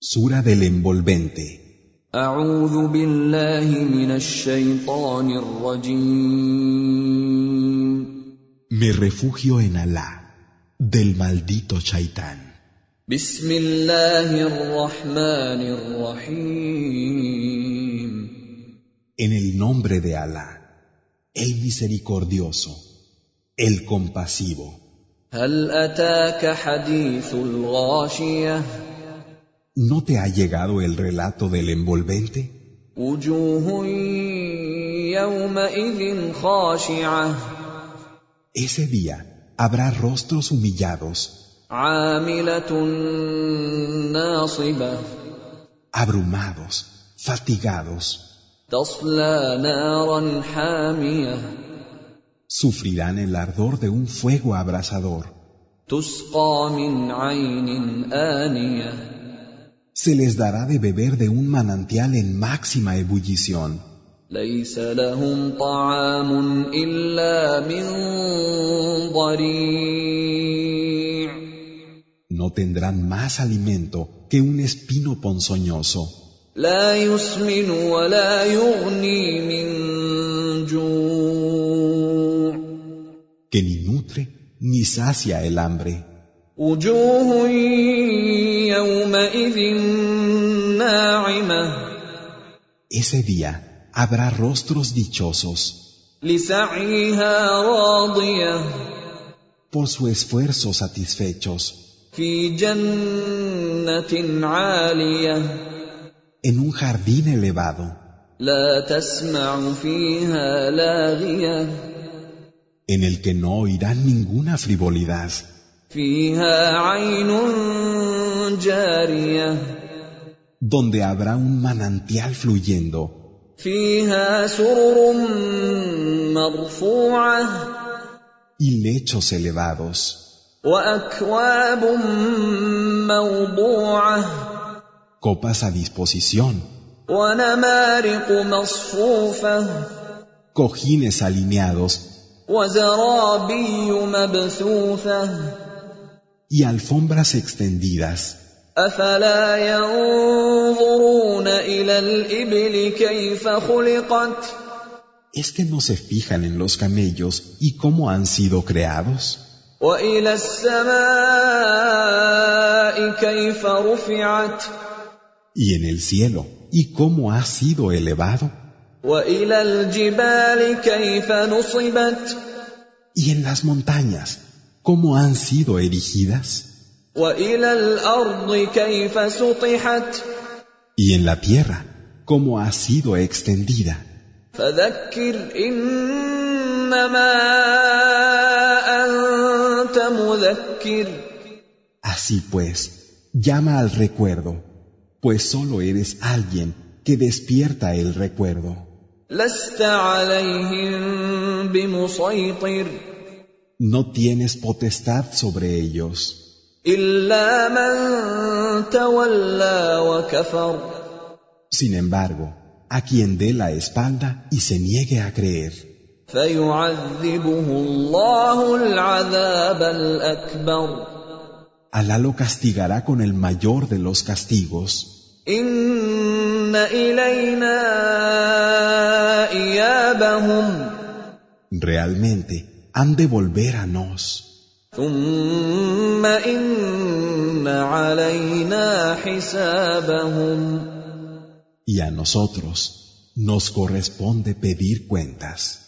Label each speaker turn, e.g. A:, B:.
A: Sura del envolvente.
B: أعوذ بالله من الشيطان الرجيم
A: Me refugio en Alá, del maldito Chaitán.
B: بسم الله الرحمن الرحيم
A: En el nombre de Alá, el misericordioso, el compasivo.
B: هل أتاك حديث الغاشية
A: ¿No te ha llegado el relato del envolvente?
B: وجوه يومئذ خاشعة
A: Ese día habrá rostros humillados,
B: عاملة ناصبة
A: abrumados, fatigados.
B: تصلى نارا حاميه
A: Sufrirán el ardor de un fuego abrasador.
B: تسقى من عين آنية
A: Se les dará de beber de un manantial en máxima ebullición.
B: ليس لهم طعام إلا من ضريع
A: No tendrán más alimento que un espino ponzoñoso,
B: لا يسمن ولا يغني من جوع
A: que ni nutre ni sacia el hambre.
B: وجوه يومئذ ناعمة
A: Ese día habrá rostros dichosos.
B: لسعيها راضية
A: Por su esfuerzo satisfechos,
B: في جنة عالية
A: en un jardín elevado,
B: لا تسمع فيها لاغية
A: en el que no oirán ninguna frivolidad.
B: فيها عين جارية
A: Donde habrá un manantial fluyendo,
B: فيها سرر مرفوعة
A: y lechos elevados,
B: وأكواب موضوعة
A: copas a disposición,
B: ونمارق مصفوفة
A: cojines alineados,
B: وزرابي مبثوثة
A: y alfombras extendidas.
B: أفلا ينظرون إلى الإبل كيف خلقت ؟
A: ¿Es que no se fijan en los camellos y cómo han sido creados?
B: وإلى السماء كيف رفعت
A: ¿Y en el cielo y cómo ha sido elevado?
B: وإلى الجبال كيف نصبت
A: ¿Y en las montañas cómo han sido erigidas?
B: وإلى الأرض كيف سطحت
A: ¿Y en la tierra cómo ha sido extendida?
B: فذكر إنما أنت مذكر
A: Así pues, llama al recuerdo, pues solo eres alguien que despierta el recuerdo.
B: لست عليهم بمسيطر
A: No tienes potestad sobre ellos,
B: إلا من تولى وكفر
A: sin embargo, a quien dé la espalda y se niegue a creer.
B: فيعذبه الله العذاب الأكبر
A: Alá lo castigará con el mayor de los castigos.
B: إن إلينا إيابهم
A: Realmente han de volver a nos,
B: ثم إن علينا حسابهم
A: y a nosotros nos corresponde pedir cuentas.